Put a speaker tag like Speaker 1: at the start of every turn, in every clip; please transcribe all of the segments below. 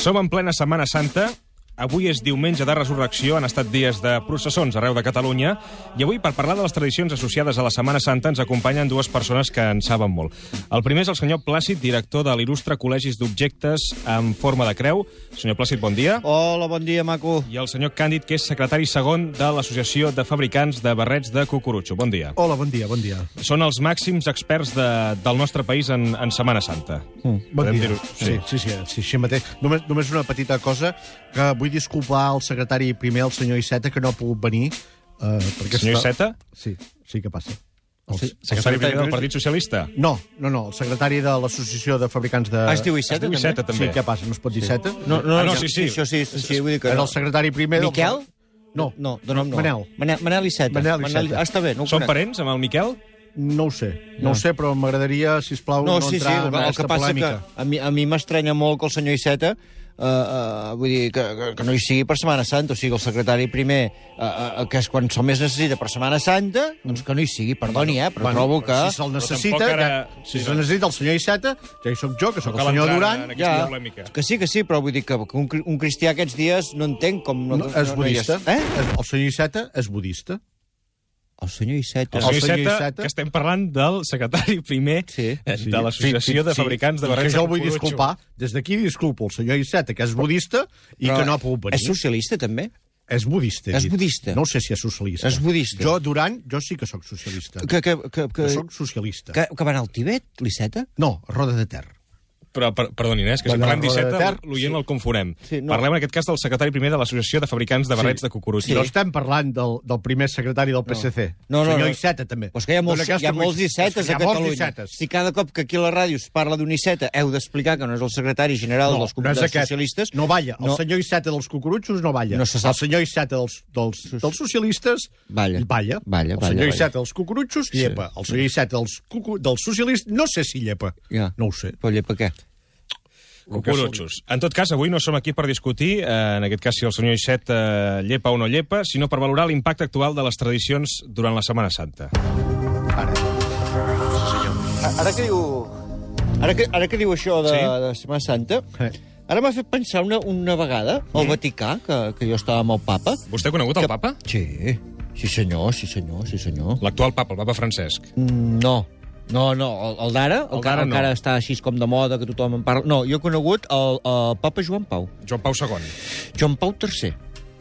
Speaker 1: Som en plena Setmana Santa. Avui és diumenge de resurrecció, han estat dies de processons arreu de Catalunya, i avui, per parlar de les tradicions associades a la Setmana Santa, ens acompanyen dues persones que en saben molt. El primer és el senyor Plàcid, director de l'il·lustre Col·legis d'Objectes en forma de creu. Senyor Plàcid, bon dia.
Speaker 2: Hola, bon dia, maco.
Speaker 1: I el senyor Càndid, que és secretari segon de l'Associació de Fabricants de Barrets de Cucurutxo. Bon dia.
Speaker 3: Hola, bon dia, bon dia.
Speaker 1: Són els màxims experts de, del nostre país en, en Setmana Santa.
Speaker 3: Mm. Bon
Speaker 1: Podem
Speaker 3: dia.
Speaker 1: dir-ho.
Speaker 3: Sí, sí, sí, sí, així mateix. Només, només una petita cosa, que vull disculpar al secretari primer, el senyor Iceta, que no ha pogut venir. Eh, perquè
Speaker 1: Senyor
Speaker 3: està-
Speaker 1: Iceta?
Speaker 3: Sí, sí que passa. El
Speaker 1: El
Speaker 3: se-
Speaker 1: secretari primer del Partit Socialista.
Speaker 3: No, no, no, el secretari de l'Associació de Fabricants de...
Speaker 2: Ah, es diu Iceta,
Speaker 1: diu Iceta, també?
Speaker 3: Sí, què passa, no es pot dir Iceta?
Speaker 2: No, no,
Speaker 1: Ah, no,
Speaker 2: ja,
Speaker 1: sí, sí.
Speaker 2: Això sí, sí, sí, vull dir que...
Speaker 3: Era
Speaker 2: No.
Speaker 3: el secretari primer...
Speaker 2: Miquel?
Speaker 3: Del... No,
Speaker 2: No, de nom no.
Speaker 3: Manel.
Speaker 2: Manel, Manel Iceta.
Speaker 3: Manel Iceta.
Speaker 2: Ah, està bé, no ho
Speaker 1: Són
Speaker 2: conec.
Speaker 1: parents amb el Miquel?
Speaker 3: no ho sé. No, no ho sé, però m'agradaria, sisplau,
Speaker 2: Ah. No,
Speaker 3: no,
Speaker 2: sí, sí, el,
Speaker 3: entrar en
Speaker 2: el
Speaker 3: aquesta
Speaker 2: que passa
Speaker 3: polèmica.
Speaker 2: que a mi, a mi m'estranya molt que el senyor Iceta Uh, uh, vull dir, que, que, que no hi sigui per Setmana Santa, o sigui, el secretari primer, uh, uh, que és quan se'l més necessita per Setmana Santa, doncs que no hi sigui, perdoni, eh, però
Speaker 3: Bueno,
Speaker 2: trobo que...
Speaker 3: Si se'l
Speaker 1: tampoc
Speaker 3: necessita,
Speaker 1: ara-
Speaker 3: ara... ja, si
Speaker 1: sí,
Speaker 3: se'l
Speaker 1: no.
Speaker 3: necessita el senyor Iceta, ja hi sóc jo, que sóc el
Speaker 1: cal
Speaker 3: senyor
Speaker 1: entrar
Speaker 3: Duran.
Speaker 1: en aquesta polèmica.
Speaker 2: que sí, que sí, però vull dir que un, cri- un cristià aquests dies no entenc com... No,
Speaker 3: No, és budista.
Speaker 2: No hi és.
Speaker 3: És- El senyor Iceta és budista.
Speaker 2: eh? El senyor Iceta...
Speaker 1: El
Speaker 3: El
Speaker 1: senyor
Speaker 3: senyor
Speaker 1: Iceta,
Speaker 3: Iceta.
Speaker 1: que estem parlant del secretari primer
Speaker 2: Sí,
Speaker 1: eh,
Speaker 3: Sí.
Speaker 1: de l'Associació
Speaker 3: Sí,
Speaker 1: de
Speaker 3: sí,
Speaker 1: Fabricants
Speaker 3: sí,
Speaker 1: de Barrets
Speaker 3: Que jo
Speaker 1: de
Speaker 3: el vull
Speaker 1: Cucurutxo.
Speaker 3: disculpar. Des d'aquí disculpo el senyor Iceta, que és budista i que no ha pogut venir.
Speaker 2: És socialista, també?
Speaker 3: És budista. he
Speaker 2: És
Speaker 3: dit.
Speaker 2: budista.
Speaker 3: No sé si és socialista.
Speaker 2: És budista.
Speaker 3: Jo, Duran, jo sí que sóc socialista.
Speaker 2: Que, que, que, que,
Speaker 3: Jo sóc socialista.
Speaker 2: que, que va anar al Tibet, l'Iceta?
Speaker 3: No, Roda de Ter.
Speaker 1: Però, per, perdoni, eh, és que si
Speaker 3: Bueno,
Speaker 1: parlem
Speaker 3: roda de
Speaker 1: d'Iceta,
Speaker 3: ter.
Speaker 1: l'oient el confonem.
Speaker 2: Sí, no.
Speaker 1: Parlem en aquest cas del secretari primer de l'Associació de Fabricants de Barrets de Cucurutxo.
Speaker 3: No estem parlant del, del primer secretari del PSC.
Speaker 2: No, no,
Speaker 3: senyor
Speaker 2: no.
Speaker 3: Iceta, també.
Speaker 2: Però és que hi ha molts,
Speaker 3: Dona aquesta
Speaker 2: hi ha molts
Speaker 3: coincidència.
Speaker 2: Icetes
Speaker 3: És que
Speaker 2: a
Speaker 3: hi ha molts
Speaker 2: Catalunya.
Speaker 3: Icetes.
Speaker 2: Si cada cop que aquí a la ràdio es parla d'un Iceta, heu d'explicar que no és el secretari general dels,
Speaker 3: no és
Speaker 2: dels
Speaker 3: aquest.
Speaker 2: socialistes...
Speaker 3: No balla. El
Speaker 2: No.
Speaker 3: senyor Iceta dels cucurutxos no balla.
Speaker 2: No se sap.
Speaker 3: El senyor Iceta dels, dels, dels socialistes
Speaker 2: Balla.
Speaker 3: balla.
Speaker 2: Balla,
Speaker 3: el
Speaker 2: balla,
Speaker 3: senyor
Speaker 2: balla.
Speaker 3: Iceta dels cucurutxos llepa. El senyor Iceta dels, cucu... dels socialistes no sé si llepa.
Speaker 2: Ja.
Speaker 3: No ho sé.
Speaker 2: Però llepa què?
Speaker 1: Cucurutxos. En tot cas, avui no som aquí per discutir, eh, en aquest cas, si el senyor Iceta llepa o no llepa, sinó per valorar l'impacte actual de les tradicions durant la Setmana Santa.
Speaker 2: Ara que diu... Ara que, ara que diu això de,
Speaker 1: Sí?
Speaker 2: sí? de Setmana Santa...
Speaker 3: Eh.
Speaker 2: Ara m'ha fet pensar una, una vegada al Vaticà, que, que jo estava amb el papa.
Speaker 1: Vostè ha conegut el
Speaker 2: Que-
Speaker 1: papa?
Speaker 2: Sí, sí senyor, sí senyor, sí senyor.
Speaker 1: L'actual papa, el papa Francesc.
Speaker 2: Mm, No. No, no, el, el d'ara, el,
Speaker 1: El
Speaker 2: el que
Speaker 1: d'ara
Speaker 2: ara
Speaker 1: no.
Speaker 2: encara està així com de moda, que tothom en parla... No, jo he conegut el, el papa Joan Pau.
Speaker 1: Joan Pau II.
Speaker 2: Joan Pau III.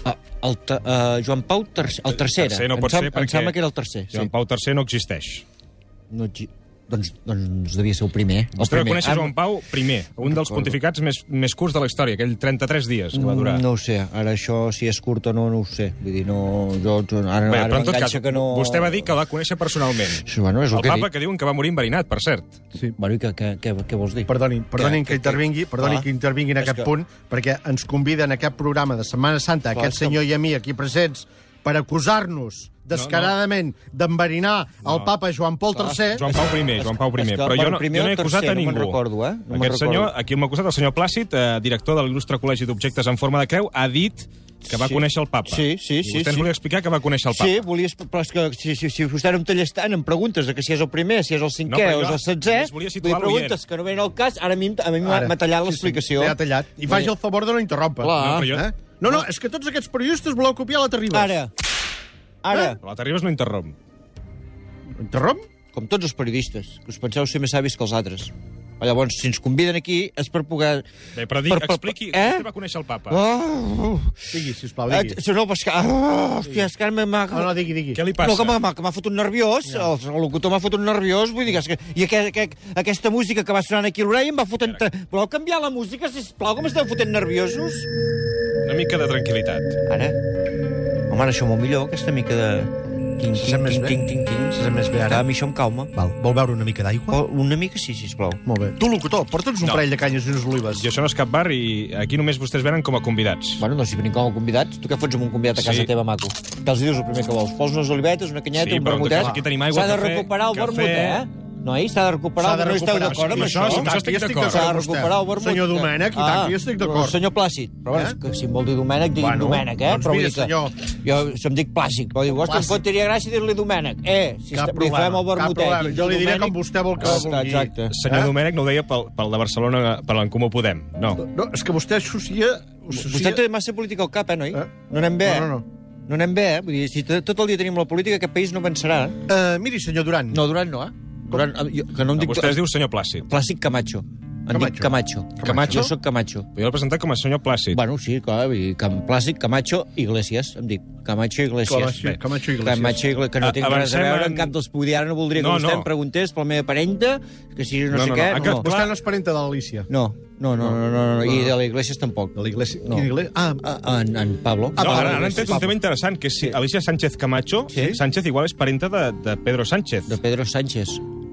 Speaker 2: Ah, el, te- eh, Joan Pau III, el tercer.
Speaker 1: tercer no
Speaker 2: em,
Speaker 1: pot
Speaker 2: sem-
Speaker 1: ser perquè-
Speaker 2: em sembla que era el tercer.
Speaker 1: Joan
Speaker 2: Sí.
Speaker 1: Pau III no existeix.
Speaker 2: No, exi- doncs, doncs devia ser el primer. El
Speaker 1: Vostè
Speaker 2: primer. Ah,
Speaker 1: coneixes
Speaker 2: Ara-
Speaker 1: Joan Pau primer, un dels pontificats més, més curts de la història, aquell 33 dies que va durar.
Speaker 2: No ho sé, ara això, si és curt o no, no ho sé. Vull dir, no... Jo, jo ara,
Speaker 1: Bé,
Speaker 2: ara
Speaker 1: però en tot cas,
Speaker 2: m'enganxa que no...
Speaker 1: vostè va dir que el va conèixer personalment.
Speaker 2: Sí, bueno, és el,
Speaker 1: El
Speaker 2: que he
Speaker 1: papa que diuen que va morir enverinat, per cert.
Speaker 2: dit. Bueno, i què, què, què, què vols dir?
Speaker 3: Perdonin, perdonin que,
Speaker 2: que-
Speaker 3: intervingui, perdonin
Speaker 2: clar.
Speaker 3: que intervingui en
Speaker 2: És
Speaker 3: aquest
Speaker 2: que-
Speaker 3: punt, perquè ens conviden a aquest programa de Setmana Santa, a
Speaker 2: Clar,
Speaker 3: aquest
Speaker 2: és que-
Speaker 3: senyor i a mi aquí presents, per acusar-nos descaradament d'enverinar el papa Joan Paul III.
Speaker 1: Joan Pau primer, Joan Pau primer.
Speaker 2: és que,
Speaker 1: Però jo
Speaker 2: bueno,
Speaker 1: no,
Speaker 2: primer
Speaker 1: jo no he
Speaker 2: o
Speaker 1: acusat
Speaker 2: tercer,
Speaker 1: a
Speaker 2: no
Speaker 1: ningú.
Speaker 2: me'n recordo, eh? No me'n
Speaker 1: Aquest
Speaker 2: recordo.
Speaker 1: senyor, aquí m'ha acusat el senyor Plàcid, eh, director de l'il·lustre Col·legi d'Objectes en forma de creu, ha dit que va
Speaker 2: Sí.
Speaker 1: conèixer el papa.
Speaker 2: Sí, sí,
Speaker 1: I
Speaker 2: sí,
Speaker 1: vostè ens
Speaker 2: sí.
Speaker 1: volia explicar que va conèixer el papa.
Speaker 2: Sí, volies, però és que si, si, si vostè no em talles tant, em preguntes de que si és el primer, si és el
Speaker 1: No,
Speaker 2: cinquè
Speaker 1: però
Speaker 2: o és
Speaker 1: jo
Speaker 2: el setzè,
Speaker 1: només volia situar
Speaker 2: vull dir, preguntes que no venen al cas, ara a mi, em- a mi m'ha
Speaker 3: Ara.
Speaker 2: m'ha tallat
Speaker 3: Sí, sí,
Speaker 2: l'explicació.
Speaker 3: T'ha tallat. I faci el favor de no interrompre.
Speaker 2: Clar.
Speaker 1: No, però jo-
Speaker 3: Eh? No, no, és que tots aquests periodistes voleu copiar la Terribas.
Speaker 2: Ara, ara,
Speaker 1: Però La Terribas no interromp.
Speaker 3: Interromp?
Speaker 2: com tots els periodistes, que us penseu ser més savis que els altres. O llavors, si ens conviden aquí, és per poder...
Speaker 1: Bé, però dic,
Speaker 2: Per- per-
Speaker 1: expliqui,
Speaker 2: eh?
Speaker 1: vostè va conèixer el papa.
Speaker 2: Oh,
Speaker 3: Digui, sisplau,
Speaker 2: eh,
Speaker 3: digui.
Speaker 2: si no, però és que... Oh, hòstia, és que ara m'ha...
Speaker 3: No, no, digui, digui.
Speaker 1: Què li
Speaker 2: No,
Speaker 1: passa?
Speaker 2: que m'ha que m'ha fotut nerviós, el, el locutor m'ha fotut nerviós, vull dir que... és que- I aqu aqu aquesta música que va sonant aquí a l'orella em va fotent... Tre... Voleu canviar la música, sisplau, que m'esteu fotent nerviosos?
Speaker 1: Una mica de tranquil·litat.
Speaker 2: Ara? Home, ara això molt millor, aquesta mica de... Tinc,
Speaker 3: Se sent
Speaker 2: tinc,
Speaker 3: més
Speaker 2: tinc,
Speaker 3: bé?
Speaker 2: tinc, tinc, tinc.
Speaker 3: Se sent més bé ara?
Speaker 2: Clar, a mi això em calma.
Speaker 3: Val, vol beure una mica d'aigua?
Speaker 2: Oh, Una mica sí, sisplau.
Speaker 3: Molt bé. Tu, locutor, porta'ns un parell de canyes i unes olives.
Speaker 1: I això no és cap bar i aquí només vostès venen com a convidats.
Speaker 2: Bueno, doncs si venim com a convidats, tu què fots amb un convidat a casa
Speaker 1: Sí.
Speaker 2: sí. teva, maco? Que els dius el primer que vols? Pols unes olivetes, una canyeta,
Speaker 1: Sí,
Speaker 2: un
Speaker 1: però en tot
Speaker 2: vermutet...
Speaker 1: cas aquí tenim aigua,
Speaker 2: S'ha de
Speaker 1: cafè,
Speaker 2: recuperar el
Speaker 1: cafè,
Speaker 2: vermut, eh? Nois, s'ha de recuperar.
Speaker 3: S'ha de
Speaker 2: No esteu
Speaker 3: recuperar,
Speaker 2: d'acord
Speaker 3: sí,
Speaker 2: amb
Speaker 3: això
Speaker 2: això?
Speaker 3: sí,
Speaker 1: amb això estic
Speaker 3: jo estic
Speaker 1: d'acord.
Speaker 2: S'ha de
Speaker 3: amb vostè.
Speaker 2: recuperar el vermut.
Speaker 3: Senyor Domènec, i tant,
Speaker 2: Ah,
Speaker 3: que jo estic d'acord.
Speaker 2: Senyor Plàcid. Però,
Speaker 3: Eh?
Speaker 2: bueno, eh? que si em vol dir Domènec, digui
Speaker 3: Bueno,
Speaker 2: bueno, Domènec, eh?
Speaker 3: doncs
Speaker 2: però vull
Speaker 3: mira,
Speaker 2: dir que
Speaker 3: senyor.
Speaker 2: Jo, si em dic Plàcid, però diu, ostres, em
Speaker 3: Plàcid.
Speaker 2: fotria gràcia dir-li Domènec. Eh, si
Speaker 3: Cap
Speaker 2: està, li
Speaker 3: problema,
Speaker 2: fem el
Speaker 3: cap
Speaker 2: vermutet.
Speaker 3: problema.
Speaker 2: i
Speaker 3: Jo li diré
Speaker 2: Domènec-
Speaker 3: com vostè vol que
Speaker 2: Ah,
Speaker 3: vulgui.
Speaker 2: Exacte.
Speaker 1: Senyor
Speaker 3: Eh?
Speaker 1: eh? Domènec no ho deia pel, pel de Barcelona, per l'en Comú Podem. No.
Speaker 3: No, és que vostè associa...
Speaker 2: Vostè té massa política al cap, eh, noi?
Speaker 3: Eh?
Speaker 2: No anem bé, eh?
Speaker 3: No, no, no.
Speaker 2: No anem bé, eh? Vull dir, si t- tot el dia tenim la política, aquest país no avançarà. eh?
Speaker 3: Uh, miri, senyor Duran.
Speaker 2: No, Durant no, eh? Durant, eh, jo, que no em
Speaker 1: No,
Speaker 2: dic...
Speaker 1: vostè es diu senyor Plàcid.
Speaker 2: Plàcid Camacho. Em dic Camacho.
Speaker 3: Camacho. Camacho?
Speaker 2: Camacho, sóc Camacho.
Speaker 1: Podria presentar com a senyor Plàcid.
Speaker 2: Bueno, sí, clar, vull dir, Cam, Plàcid, Camacho, Iglesias, em dic. Camacho, Iglesias.
Speaker 3: Camacho-
Speaker 2: Bé.
Speaker 3: Camacho, Iglesias.
Speaker 2: Camacho, Iglesias, que
Speaker 1: A-
Speaker 2: no tinc res a
Speaker 1: avancem
Speaker 2: veure
Speaker 1: en-
Speaker 2: en cap dels poder. Ara no voldria que
Speaker 1: No,
Speaker 2: no, vostè
Speaker 1: no.
Speaker 2: em preguntés per la meva parenta, que si no,
Speaker 1: No,
Speaker 2: sé
Speaker 1: no, no,
Speaker 2: què...
Speaker 1: ha
Speaker 2: No,
Speaker 1: quedat
Speaker 3: Vostè no és parenta de l'Alícia.
Speaker 2: no, no, no, no, no, no, i de l'Iglesias tampoc.
Speaker 3: De l'Iglesia.
Speaker 2: No.
Speaker 3: Quina Iglesia? Ah,
Speaker 2: A- En, en Pablo.
Speaker 1: No,
Speaker 3: Pablo
Speaker 1: ara, ara hem
Speaker 3: Iglesias.
Speaker 1: tret un tema interessant, que és si Alicia Sánchez Camacho,
Speaker 2: Sí.
Speaker 1: Sánchez igual és parenta de, de Pedro Sánchez.
Speaker 2: De Pedro Sánchez.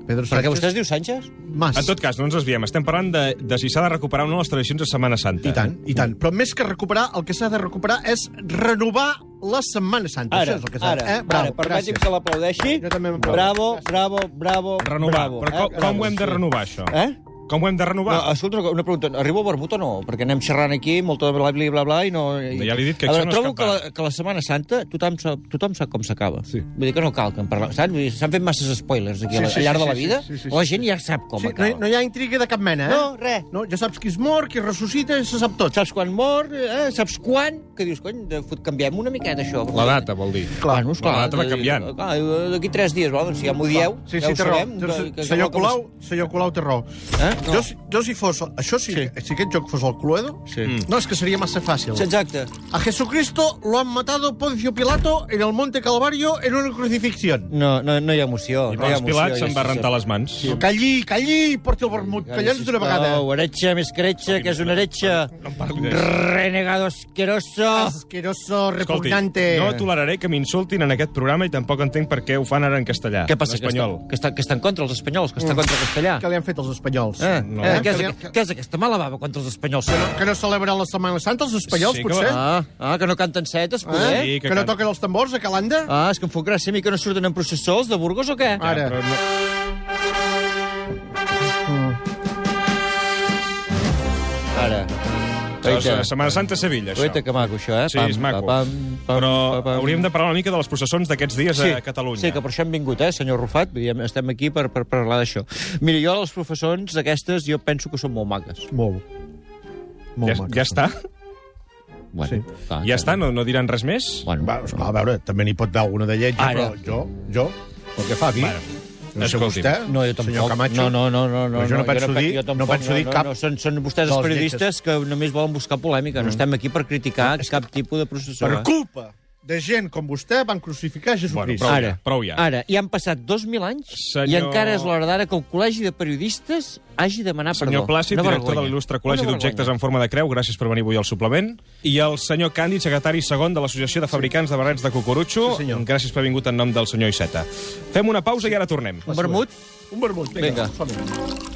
Speaker 3: Pedro Sánchez.
Speaker 2: Perquè vostè es diu Sánchez?
Speaker 3: Mas.
Speaker 1: En tot cas, no ens desviem. Estem parlant de, de si s'ha de recuperar o no les tradicions de Setmana Santa.
Speaker 3: I tant, i tant. Però més que recuperar, el que s'ha de recuperar és renovar la Setmana Santa.
Speaker 2: Ara,
Speaker 3: Això és el que s'ha de-
Speaker 2: ara,
Speaker 3: eh? Bravo,
Speaker 2: ara, permeti'm
Speaker 3: gràcies.
Speaker 2: que l'aplaudeixi.
Speaker 3: Jo també m'aplaudo.
Speaker 2: Bravo, bravo, bravo,
Speaker 1: Renovar.
Speaker 2: bravo.
Speaker 1: Però com, com
Speaker 2: Bravo,
Speaker 1: ho hem de
Speaker 2: eh? sí.
Speaker 1: renovar, això?
Speaker 2: Eh?
Speaker 1: Com ho hem de renovar?
Speaker 2: No, eh, escolta, una, una pregunta. Arriba el vermut o no? Perquè anem xerrant aquí, molt de bla, bla, bla, bla, i no... I...
Speaker 1: Ja li he dit que
Speaker 2: a
Speaker 1: això
Speaker 2: veure,
Speaker 1: no és cap
Speaker 2: trobo que la,
Speaker 1: bar.
Speaker 2: que la Setmana Santa tothom sap, tothom sap com s'acaba.
Speaker 3: Sí.
Speaker 2: Vull dir que no cal que en parlem, saps? Vull dir, s'han fet masses spoilers aquí
Speaker 3: Sí,
Speaker 2: sí,
Speaker 3: sí,
Speaker 2: al llarg
Speaker 3: sí,
Speaker 2: de la
Speaker 3: sí,
Speaker 2: vida.
Speaker 3: sí, sí, sí,
Speaker 2: la
Speaker 3: sí.
Speaker 2: gent ja sap com
Speaker 3: Sí, no,
Speaker 2: acaba.
Speaker 3: hi, no hi ha intriga de cap mena, eh?
Speaker 2: No, res.
Speaker 3: No, ja saps qui es mor, qui ressuscita, ja se sap tot.
Speaker 2: Saps quan mor, eh? saps quan, que dius, cony, de fot, canviem una miqueta això.
Speaker 1: La data, vol dir.
Speaker 3: Clar,
Speaker 2: bueno, esclar,
Speaker 1: la data va canviant.
Speaker 2: Clar, d'aquí tres dies, va, doncs si ja m'ho dieu,
Speaker 3: Sí,
Speaker 2: ja
Speaker 3: sí,
Speaker 2: ho
Speaker 3: té raó.
Speaker 2: sabem.
Speaker 3: Jo-
Speaker 2: que- que-
Speaker 3: Senyor
Speaker 2: com es-
Speaker 3: Colau, senyor Colau té raó.
Speaker 2: Eh? No.
Speaker 3: Jo, si- jo si fos... Això
Speaker 2: Sí.
Speaker 3: sí, que- si aquest joc fos el Cluedo,
Speaker 2: Sí.
Speaker 3: mm. no, és que seria massa fàcil.
Speaker 2: Exacte.
Speaker 3: A Jesucristo lo han matado Poncio Pilato en el Monte Calvario en una crucifixión.
Speaker 2: No, no, no hi ha emoció.
Speaker 1: I
Speaker 2: no hi ha
Speaker 1: Pons
Speaker 2: emoció,
Speaker 1: Pilat
Speaker 2: ja
Speaker 1: se'n va
Speaker 2: se sap.
Speaker 1: rentar les mans.
Speaker 3: Sí. Calli, calli, porti el vermut, callem d'una vegada.
Speaker 2: Mm. Sisplau, heretge més cretxa, que és una heretge
Speaker 1: No em parli d'això.
Speaker 2: renegado asqueroso.
Speaker 3: Ah. Asqueroso,
Speaker 1: Escolti,
Speaker 3: repugnante.
Speaker 1: no toleraré que m'insultin en aquest programa i tampoc entenc per què ho fan ara en castellà.
Speaker 2: Què passa?
Speaker 1: en
Speaker 2: Que està,
Speaker 1: espanyol.
Speaker 2: que, està, que està en contra els espanyols, que està contra el castellà.
Speaker 3: Que li han fet els espanyols.
Speaker 2: Eh,
Speaker 1: No.
Speaker 2: eh, què,
Speaker 3: que,
Speaker 2: és,
Speaker 3: li han-
Speaker 2: aqu- què és aquesta mala bava contra els espanyols? Que no,
Speaker 3: que no celebren la Setmana Santa, els espanyols,
Speaker 1: Sí que
Speaker 3: potser?
Speaker 2: ah, ah, que no canten setes, poder?
Speaker 1: Sí,
Speaker 3: eh?
Speaker 1: que
Speaker 3: que, no
Speaker 1: can-
Speaker 3: toquen els tambors a Calanda?
Speaker 2: Ah, és que em fot gràcia a mi que no surten en processó els de Burgos o què?
Speaker 3: Ah. Ara.
Speaker 1: Però no...
Speaker 2: Ara.
Speaker 1: Oita.
Speaker 2: Oita,
Speaker 1: Setmana Santa a Sevilla, això.
Speaker 2: oita que maco això, eh?
Speaker 1: Sí, és maco. Però hauríem de parlar una mica de les processons d'aquests dies a Catalunya.
Speaker 2: Sí, que per això hem vingut, eh, senyor Rufat? Vull dir, estem aquí per, per parlar d'això. Mira, jo, les professors aquestes, jo penso que són molt maques.
Speaker 3: Molt. Molt
Speaker 1: ja, ja està?
Speaker 2: Bueno,
Speaker 3: Sí.
Speaker 2: clar,
Speaker 1: Ja està? No, no diran res més?
Speaker 2: Bueno,
Speaker 3: Va, Ah, esclar, a veure, també n'hi pot haver alguna de lletja,
Speaker 2: Ara.
Speaker 3: però jo, jo, pel que fa aquí...
Speaker 1: Ah, Bueno,
Speaker 3: no sé
Speaker 1: escolti'm.
Speaker 3: vostè,
Speaker 2: no, jo tampoc.
Speaker 3: senyor Camacho,
Speaker 2: No, no, no. no, no
Speaker 3: però jo no penso
Speaker 2: pe-
Speaker 3: dir-
Speaker 2: jo
Speaker 3: no
Speaker 2: tampoc,
Speaker 3: penso dir cap
Speaker 2: No, no, són, són vostès els
Speaker 3: dels Mm.
Speaker 2: periodistes que només volen buscar polèmica. No estem aquí per criticar cap tipus de processó.
Speaker 3: per
Speaker 2: eh?
Speaker 3: culpa de gent com vostè van crucificar
Speaker 1: Bueno,
Speaker 3: Jesucrist.
Speaker 1: prou,
Speaker 2: Ara.
Speaker 1: ja, prou ja.
Speaker 2: Ara, i han passat 2.000 anys
Speaker 1: Senyor-
Speaker 2: i encara és l'hora d'ara que el Col·legi de Periodistes hagi de demanar
Speaker 1: Senyor
Speaker 2: perdó.
Speaker 1: Plàcid,
Speaker 2: Una
Speaker 1: director
Speaker 2: vergonya.
Speaker 1: de l'il·lustre
Speaker 2: Una
Speaker 1: Col·legi
Speaker 2: vergonya.
Speaker 1: d'Objectes en forma de creu, gràcies per venir avui al suplement. I el senyor Càndid, secretari segon de l'Associació de Fabricants de Barrets de Cucurutxo.
Speaker 3: Sí, senyor.
Speaker 1: gràcies per haver vingut en nom del senyor Iceta. Fem una pausa i ara tornem.
Speaker 2: Un vermut?
Speaker 3: Un vermut, vinga.
Speaker 2: Vinga.
Speaker 3: som-hi.